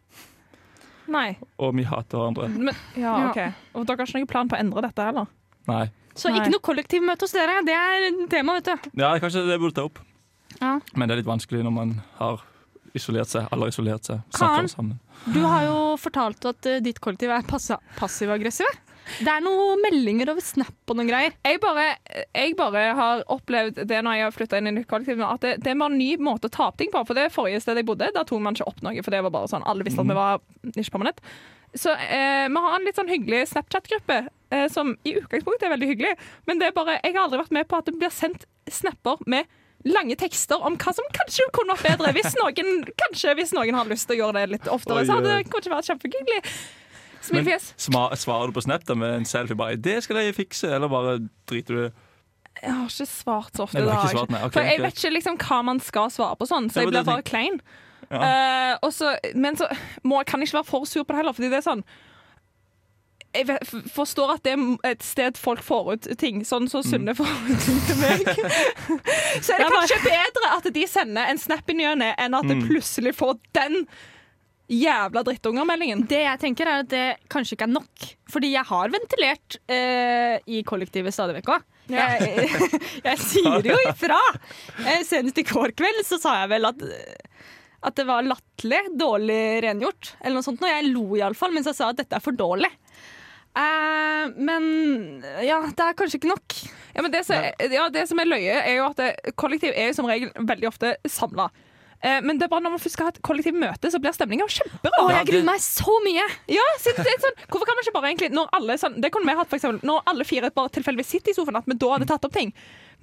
Speaker 4: Nei.
Speaker 3: Og vi hater hverandre.
Speaker 4: Men, ja,
Speaker 7: Ja.
Speaker 4: ok. Og dere har ikke noen plan på å endre dette heller?
Speaker 3: Nei.
Speaker 7: Så
Speaker 4: Nei.
Speaker 7: ikke noe kollektivmøte hos dere. Det er tema, vet du.
Speaker 3: Ja, kanskje det burde ta opp.
Speaker 7: Ja.
Speaker 3: Men det er litt vanskelig når man har isolert seg. Alle har isolert seg.
Speaker 7: Karen?
Speaker 3: Snakker sammen.
Speaker 7: Du har jo fortalt at eh, ditt kollektiv er passa- passiv-aggressive. Det er noen meldinger over Snap og noen greier.
Speaker 4: jeg bare, jeg bare har opplevd det når jeg har flytta inn i nytt kollektiv, at det, det var en ny måte å ta opp ting på. For det forrige stedet jeg bodde, der tok man ikke opp noe, for det var bare sånn, alle visste
Speaker 3: Mhm.
Speaker 4: at vi var ikke permanent. Så eh, vi har en litt sånn hyggelig Snapchat-gruppe, eh, som i utgangspunktet er veldig hyggelig. Men det er bare, jeg har aldri vært med på at det blir sendt snapper med lange tekster om hva som kanskje kunne vært bedre. Hvis noen, kanskje hvis noen har lyst til å gjøre det litt oftere,
Speaker 3: Oi,
Speaker 4: så hadde
Speaker 3: oi.
Speaker 4: det kanskje vært kjempehyggelig.
Speaker 3: Men
Speaker 4: Smilfjes.
Speaker 3: sma- svarer du på Snap da med en selfie bare 'Det skal jeg fikse', eller bare driter du i det?
Speaker 4: Jeg har ikke svart så ofte.
Speaker 3: Nei, du har
Speaker 4: da,
Speaker 3: ikke svart, nei. Ok,
Speaker 4: For jeg
Speaker 3: greit.
Speaker 4: vet ikke liksom hva man skal svare på sånn, så
Speaker 3: Ja,
Speaker 4: jeg
Speaker 3: men
Speaker 4: blir
Speaker 3: det
Speaker 4: bare
Speaker 3: tenk-
Speaker 4: klein.
Speaker 3: Ja.
Speaker 4: Eh, og så- men så må, kan jeg ikke være for sur på det heller, fordi det er sånn jeg vet, f- forstår at det er et sted folk får ut ting, sånn
Speaker 3: Mm.
Speaker 4: som Sunne får ut ting til meg.
Speaker 3: (laughs)
Speaker 4: (laughs) så er det kanskje bedre at de sender en snap i ny og ne, enn at
Speaker 3: Mm.
Speaker 4: jeg plutselig får den jævla drittungermeldingen.
Speaker 7: Det jeg tenker er at det kanskje ikke er nok. Fordi jeg har ventilert eh, i kollektivet stadig vekk òg. Jeg, (laughs) jeg sier jo ifra! Eh, senest i går kveld så sa jeg vel at at det var latterlig dårlig rengjort. Eller noe sånt. Og jeg lo iallfall mens jeg sa at dette er for dårlig. Eh, men ja, det er kanskje ikke nok.
Speaker 4: Ja, men det, som, ja, det som er løye, er jo at eh, kollektiv er jo som regel veldig ofte samla. Eh, men det er bare når man først skal ha et kollektivmøte, så blir stemninga
Speaker 7: Å,
Speaker 4: kjemperar.
Speaker 7: jeg gruer meg så mye!
Speaker 4: Ja, så det er sånn, hvorfor kan man ikke bare egentlig Når alle, er sånn, det kunne vi hatt for eksempel Når alle fire bare tilfeldigvis sitter i sofaen At vi da hadde tatt opp ting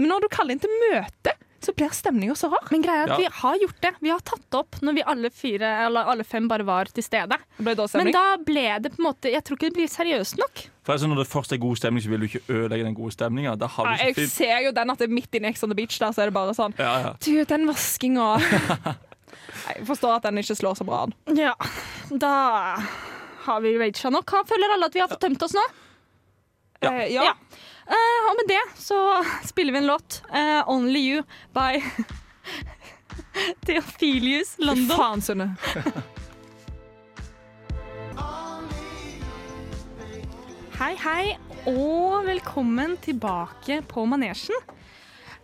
Speaker 4: Men når du kaller inn til møte Så blir stemningen så rar
Speaker 7: Men greia er at
Speaker 3: Ja.
Speaker 7: vi har gjort det. Vi har tatt det opp når vi alle fire, eller alle fem bare var til stede.
Speaker 4: Det ble da
Speaker 7: Men
Speaker 4: stemning
Speaker 7: da ble det på en måte Jeg tror ikke det blir seriøst nok.
Speaker 3: For altså, Når det først er god stemning, så vil du ikke ødelegge den gode stemninga. Da har du ikke
Speaker 4: ja, Jeg
Speaker 3: fint.
Speaker 4: ser jo den at det er midt i Next on the Beach Der så er det bare sånn
Speaker 3: Ja, ja.
Speaker 4: Du, den
Speaker 3: (laughs)
Speaker 4: vaskingen Jeg forstår at den ikke slår så bra an
Speaker 7: Ja, da har vi raga nok. Han føler alle at vi har fått tømt oss nå.
Speaker 4: Ja, ja.
Speaker 7: Ja. Eh, og med det så spiller vi en låt. eh, 'Only You' by (laughs) Theophilius London.
Speaker 4: faen Sunne
Speaker 7: Hei, hei, og velkommen tilbake på manesjen.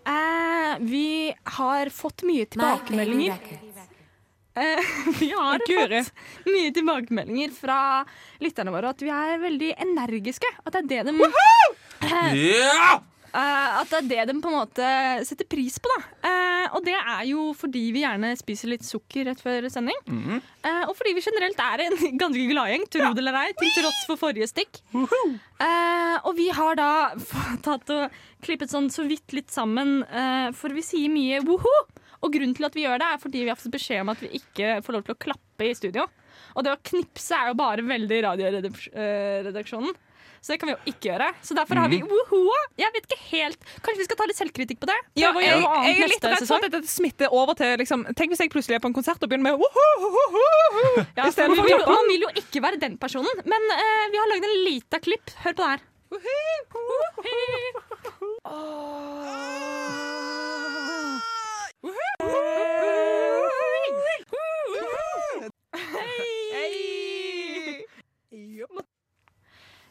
Speaker 7: Eh, vi har fått mye tilbakemeldinger. Eh, vi har
Speaker 4: Guri.
Speaker 7: fått mye tilbakemeldinger fra lytterne våre at vi er veldig energiske. At det er det de,
Speaker 3: ja!
Speaker 7: eh, at det er det de på en måte setter pris på. Da. Eh, og det er jo fordi vi gjerne spiser litt sukker rett før sending. Eh, og fordi vi generelt er en (laughs) ganske gladgjeng, tro det eller ei, til tross for forrige stikk. Eh, og vi har da (laughs) fått tatt og klippet sånn så vidt litt sammen, eh, for vi sier mye woho. Og grunnen til at vi gjør det, er fordi vi har fått beskjed om at vi ikke får lov til å klappe i studio. Og det å knipse er jo bare veldig i Radioredaksjonen. eh, Så det kan vi jo ikke gjøre. Så derfor har vi wohoa. Jeg vet ikke helt Kanskje vi skal ta litt selvkritikk på det?
Speaker 4: Ja,
Speaker 7: Prøve å
Speaker 4: jeg,
Speaker 7: gjøre noe annet
Speaker 4: jeg er litt
Speaker 7: neste
Speaker 4: redd for
Speaker 7: sesong.
Speaker 4: at dette smitter over til liksom, Tenk hvis jeg plutselig er på en konsert og begynner med «Wohohohoho»,
Speaker 7: Ja,
Speaker 4: i stedet
Speaker 7: man,
Speaker 4: for
Speaker 7: vil,
Speaker 4: klappa.
Speaker 7: man vil jo ikke være den personen, men eh, vi har lagd en lita klipp. Hør på det her.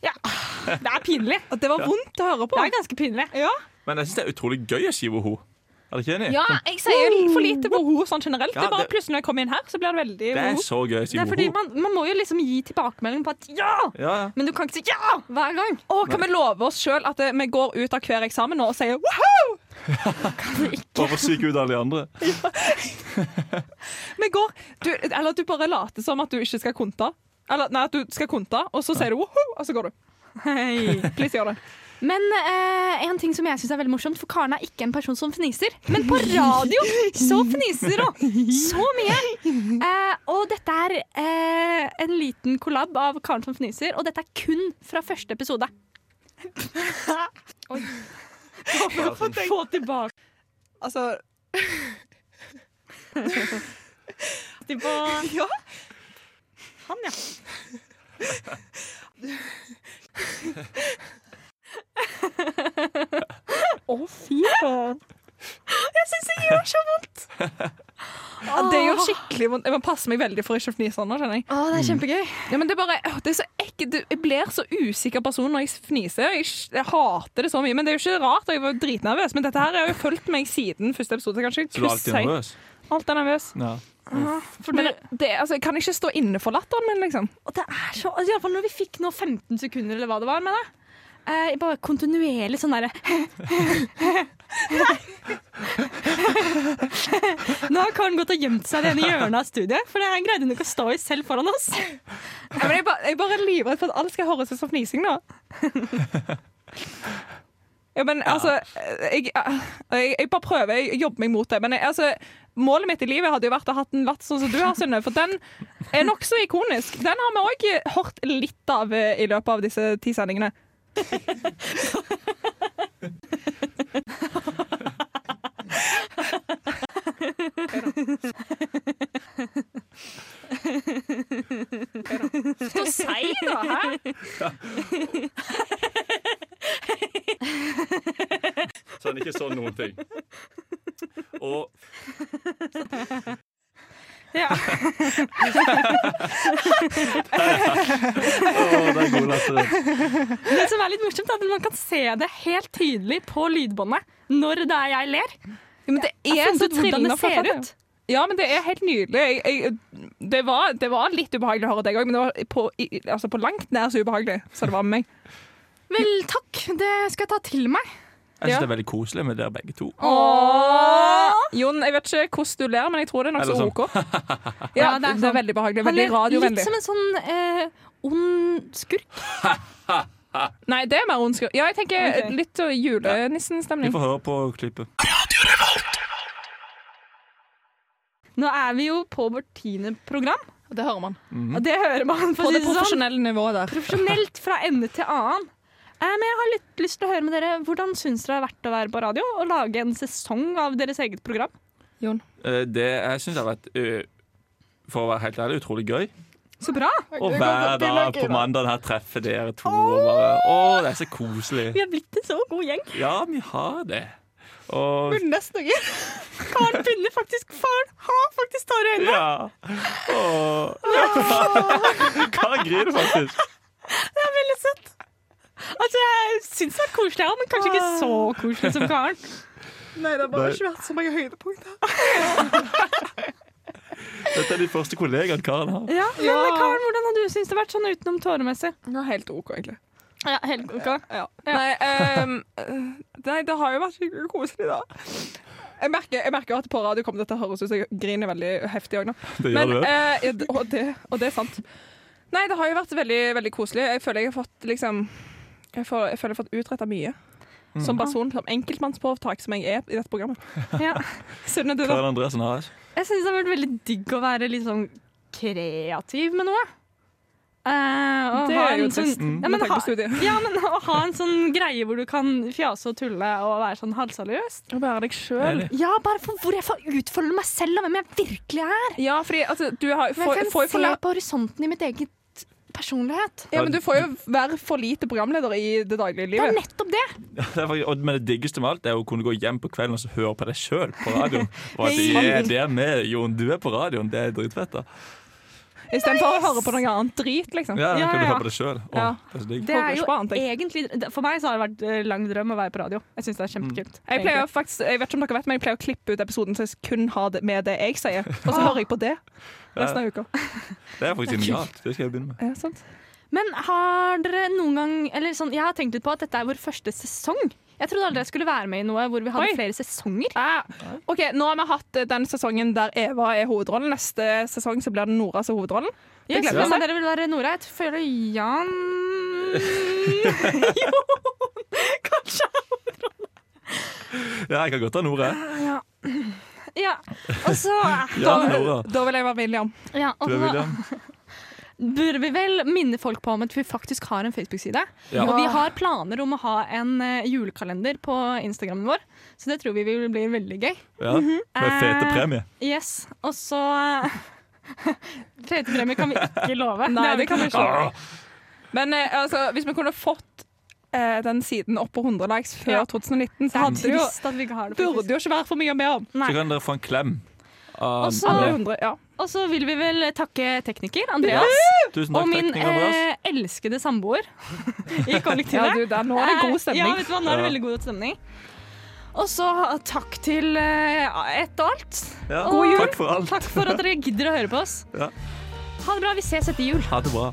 Speaker 7: Det er pinlig.
Speaker 4: At Det var vondt å høre på.
Speaker 7: Det er ganske pinlig.
Speaker 3: Men jeg syns det er utrolig gøy å si woho. Er du ikke enig?
Speaker 7: Ja, jeg sier
Speaker 4: Jeg
Speaker 7: jo
Speaker 4: er litt
Speaker 7: litt for
Speaker 4: for
Speaker 7: lite.
Speaker 4: lite woho sånn generelt.
Speaker 3: Ja,
Speaker 4: det er bare
Speaker 3: det-
Speaker 4: plutselig når jeg kommer inn her, så blir det veldig
Speaker 3: Det er
Speaker 4: woho.
Speaker 3: så gøy å si
Speaker 7: Det er fordi
Speaker 3: woho.
Speaker 7: man, man må jo liksom gi tilbakemelding på at ja!
Speaker 3: Ja, ja.
Speaker 7: Men du kan ikke si ja hver gang.
Speaker 4: Og kan vi love oss sjøl at eh, vi går ut av hver eksamen nå og sier woho!
Speaker 3: Bare for å psyke ut alle de
Speaker 7: (laughs)
Speaker 3: andre.
Speaker 4: Vi går du, Eller at du bare later som at du ikke skal konte. Eller nei, at du skal konte, og så sier du woho, og så går du. Please gjør det.
Speaker 7: Men eh, en ting som jeg synes er veldig morsomt, for Karen er ikke en person som fniser. Men på radio så fniser hun så mye! Eh, og dette er eh, en liten kollab av Karen som fniser, og dette er kun fra første episode. Oi. Få tilbake
Speaker 1: Altså,
Speaker 7: på
Speaker 1: ja.
Speaker 7: han, ja.
Speaker 4: Å, fy faen. Jeg syns det gjør så vondt. Ja, det gjør skikkelig vondt. Jeg må passe meg veldig for ikke å fnise nå, kjenner jeg.
Speaker 7: Å, det er kjempegøy.
Speaker 4: Ja, men det, er bare, åh, det er så ekkelt. Du- Jeg blir så usikker person når jeg fniser. Jeg, s- jeg hater det så mye. Men det er jo ikke rart, og jeg var jo dritnervøs. Men dette her har jo fulgt meg siden første episode. så jeg kan ikke
Speaker 3: Så du er
Speaker 4: krysse-
Speaker 3: alltid nervøs?
Speaker 4: Alt er nervøs.
Speaker 3: Ja.
Speaker 4: Men det, altså, jeg kan ikke stå inne for latteren min, liksom.
Speaker 7: Og det er så, altså, i alle fall når vi fikk nå 15 sekunder, eller hva det var, mener jeg. Eh, bare kontinuerlig sånn derre (laughs) Nå har Karen gått og gjemt seg i det ene hjørnet av studiet, for det her greide hun ikke å stå i selv foran oss.
Speaker 4: Ja, men jeg, bare, jeg bare er livredd for at alt skal høres ut som fnising nå. Ja, men altså jeg, jeg, jeg bare prøver, jeg jobber meg mot det. Men jeg, altså, målet mitt i livet hadde jo vært å ha en latt sånn som du har, Synne. For den er nokså ikonisk. Den har vi òg hørt litt av eh, i løpet av disse ti sendingene.
Speaker 7: Så seig, da! Hæ?
Speaker 3: Så han ikke så noen ting. Og
Speaker 7: (laughs) Ja.
Speaker 3: Å, det er god latter.
Speaker 7: Det som er litt morsomt, er at man kan se det helt tydelig på lydbåndet når det er jeg ler.
Speaker 4: Ja, men det
Speaker 7: Jeg
Speaker 4: er
Speaker 7: har
Speaker 4: så
Speaker 7: funnet ut hvordan
Speaker 4: trillende
Speaker 7: det ser ut.
Speaker 4: Ja, men det er helt nydelig. Jeg, jeg, det, var, det var litt ubehagelig å høre deg òg, men det var på, i- altså på langt nær så ubehagelig som det var med meg.
Speaker 7: Vel, takk. Det skal jeg ta til meg.
Speaker 3: Jeg
Speaker 4: Ja.
Speaker 3: syns det er veldig koselig med dere begge to.
Speaker 4: Jon, jeg vet ikke hvordan du ler, men jeg tror det er nokså
Speaker 3: Eller sånn. (laughs)
Speaker 4: OK. Ja,
Speaker 7: Ja, det
Speaker 4: det
Speaker 7: er
Speaker 4: er,
Speaker 7: sånn.
Speaker 4: veldig behagelig.
Speaker 7: Han
Speaker 4: Veldig
Speaker 7: er
Speaker 4: radiovennlig.
Speaker 7: Litt som en sånn eh, ond skurk.
Speaker 4: Nei, det er mer ondskap. Ja, jeg tenker
Speaker 7: Ok.
Speaker 4: litt uh,
Speaker 3: Vi
Speaker 4: julenissenstemning.
Speaker 3: får høre på klippet.
Speaker 7: Nå er vi jo på vårt tiende program,
Speaker 4: Det hører man.
Speaker 7: og det hører man for
Speaker 4: På
Speaker 7: å si
Speaker 4: det
Speaker 7: Mhm. det sånn.
Speaker 4: profesjonelle nivået der.
Speaker 7: Profesjonelt fra ende til annen. Eh, men jeg har litt lyst til å høre med dere hvordan syns dere det har vært å være på radio og lage en sesong av deres eget program?
Speaker 3: Eh, Det jeg syns har vært, eh, for å være helt ærlig, utrolig gøy.
Speaker 7: Så bra!
Speaker 3: Og hver dag på mandagen her treffer dere to. Og bare, å, det er så koselig.
Speaker 7: Vi har blitt en så god gjeng.
Speaker 3: Ja, vi har det. Og
Speaker 7: Karen begynner faktisk Faren har faktisk tårer i øynene.
Speaker 3: ja. Og, (laughs) Karen griner faktisk.
Speaker 7: Det er veldig søtt. Altså, Jeg syns det er koselig, ja, men kanskje ikke så koselig som Karen.
Speaker 1: Nei, det har
Speaker 3: Nei.
Speaker 1: bare ikke vært så mange høydepunkter.
Speaker 3: Dette er de første kollegaene Karen har.
Speaker 7: Ja, men
Speaker 4: Ja.
Speaker 7: Karen, hvordan har du syntes det har vært sånn utenom tåremessig?
Speaker 4: Ja, helt OK, egentlig.
Speaker 7: Ja, helt ok.
Speaker 4: (laughs) Nei, ehm, eh, nei, det har jo vært skikkelig koselig, da. Jeg merker, jeg merker jo at på radio kommer dette til å høres ut som jeg griner veldig heftig òg nå.
Speaker 3: Det gjør
Speaker 4: Men,
Speaker 3: du.
Speaker 4: eh, ja, d- og, det, og det er sant. Nei, det har jo vært veldig, veldig koselig. Jeg føler jeg har fått liksom Jeg, får, jeg føler jeg har fått utretta mye.
Speaker 3: Mm.
Speaker 4: Som person, som enkeltmannsforetak som jeg er i dette programmet.
Speaker 7: Ja.
Speaker 4: Sunne, du, da?
Speaker 3: Karen Andresen AS.
Speaker 7: Jeg syns det har vært veldig digg å være litt sånn kreativ med noe. Eh, å
Speaker 4: Det
Speaker 7: ha
Speaker 4: er jo
Speaker 7: en sånn,
Speaker 4: trist.
Speaker 7: ja, men,
Speaker 4: Må tenke
Speaker 7: ha,
Speaker 4: på studiet.
Speaker 7: ja, men å ha en sånn greie hvor du kan fjase og tulle og være sånn halsaløs.
Speaker 4: Å være deg sjøl.
Speaker 7: Ja, bare for hvor jeg får utfolde meg selv og hvem jeg virkelig er.
Speaker 4: Ja, fordi altså, du har,
Speaker 7: Men
Speaker 4: får,
Speaker 7: jeg
Speaker 4: får jo
Speaker 7: kan
Speaker 4: for,
Speaker 7: se på horisonten i mitt eget personlighet.
Speaker 4: ja, men du får jo være for lite programleder i det daglige
Speaker 7: Det er
Speaker 4: livet.
Speaker 7: nettopp det.
Speaker 3: Det er faktisk, og- men det diggeste med alt er å kunne gå hjem på kvelden og så høre på deg sjøl på
Speaker 4: (laughs)
Speaker 3: radioen. Og at
Speaker 7: Hei.
Speaker 3: yeah, det er med, Jon, du er på radioen, det er dritfett. da
Speaker 4: Istedenfor å høre på noe annet drit, liksom.
Speaker 3: Ja, da
Speaker 7: Ja,
Speaker 3: kan du
Speaker 7: ja.
Speaker 3: høre på deg sjøl.
Speaker 4: Ja.
Speaker 3: Det er så digg.
Speaker 7: Det er jo
Speaker 4: Fokus på annet, jeg.
Speaker 7: egentlig, for meg så har det vært eh, lang drøm å være på radio. Jeg syns det er kjempekult.
Speaker 4: Jeg pleier jo faktisk, jeg vet ikke om dere vet, men jeg pleier å klippe ut episoden så jeg kun har det med det jeg sier. Og så hører jeg på det resten av uka.
Speaker 3: Det er
Speaker 7: (laughs)
Speaker 3: faktisk genialt. Det skal jeg begynne med.
Speaker 4: Ja, sant?
Speaker 7: Men har dere noen gang eller sånn, Jeg har tenkt litt på at dette er vår første sesong. Jeg trodde aldri jeg skulle være med i noe hvor vi hadde
Speaker 4: Oi.
Speaker 7: flere sesonger.
Speaker 4: Ah, OK, nå har vi hatt eh, den sesongen der Eva er hovedrollen. Neste sesong så blir det Nora som er hovedrollen.
Speaker 7: Jeg
Speaker 4: gleder
Speaker 7: gleder
Speaker 4: meg.
Speaker 7: meg dere vil være Nora. Jeg føler Jan (laughs)
Speaker 3: Ja, jeg kan godt ta
Speaker 7: (laughs)
Speaker 3: Nora.
Speaker 7: Ja. Og så
Speaker 3: Ja,
Speaker 4: Da,
Speaker 3: Nora.
Speaker 4: da vil jeg være William.
Speaker 7: ja, og
Speaker 3: Du er
Speaker 7: så
Speaker 3: William.
Speaker 7: bør vi vel minne folk på om at vi faktisk har en Facebook-side.
Speaker 3: Ja.
Speaker 7: Og vi har planer om å ha en eh, julekalender på Instagrammen vår, så det tror vi vil bli veldig gøy.
Speaker 3: Ja, med fete
Speaker 7: Eh,
Speaker 3: premie.
Speaker 7: Yes, og så (laughs) Fetepremie kan vi ikke love.
Speaker 4: Nei,
Speaker 7: har vi
Speaker 4: det kan vi ikke.
Speaker 3: Ah,
Speaker 4: Men eh, altså, hvis vi kunne fått eh, den siden opp på 100 likes før
Speaker 7: Ja.
Speaker 4: 2019,
Speaker 7: Det
Speaker 4: så
Speaker 7: er
Speaker 4: hadde det jo,
Speaker 7: trist at vi ikke har det.
Speaker 4: burde
Speaker 7: faktisk.
Speaker 4: jo ikke være for mye å be om.
Speaker 3: så
Speaker 7: Nei.
Speaker 3: kan dere få en klem. av
Speaker 7: Og så-
Speaker 4: Alle
Speaker 3: Andrea.
Speaker 4: 100, ja.
Speaker 7: Og så vil vi vel takke tekniker Andreas
Speaker 3: Tusen
Speaker 7: og
Speaker 3: takk,
Speaker 7: min
Speaker 3: tekniker Andreas.
Speaker 7: eh, elskede samboer (laughs) i
Speaker 4: ja
Speaker 7: kollektivet.
Speaker 4: du, der, nå er det god
Speaker 7: Eh, Ja,
Speaker 4: stemning.
Speaker 7: vet du hva, nå er det
Speaker 3: Ja.
Speaker 7: veldig god stemning. Og så takk til eh, ett og alt.
Speaker 3: Ja,
Speaker 7: God jul.
Speaker 3: Takk for alt.
Speaker 7: Takk for at dere gidder å høre på oss.
Speaker 3: Ja.
Speaker 7: Ha det bra. Vi ses etter jul.
Speaker 3: Ha det bra.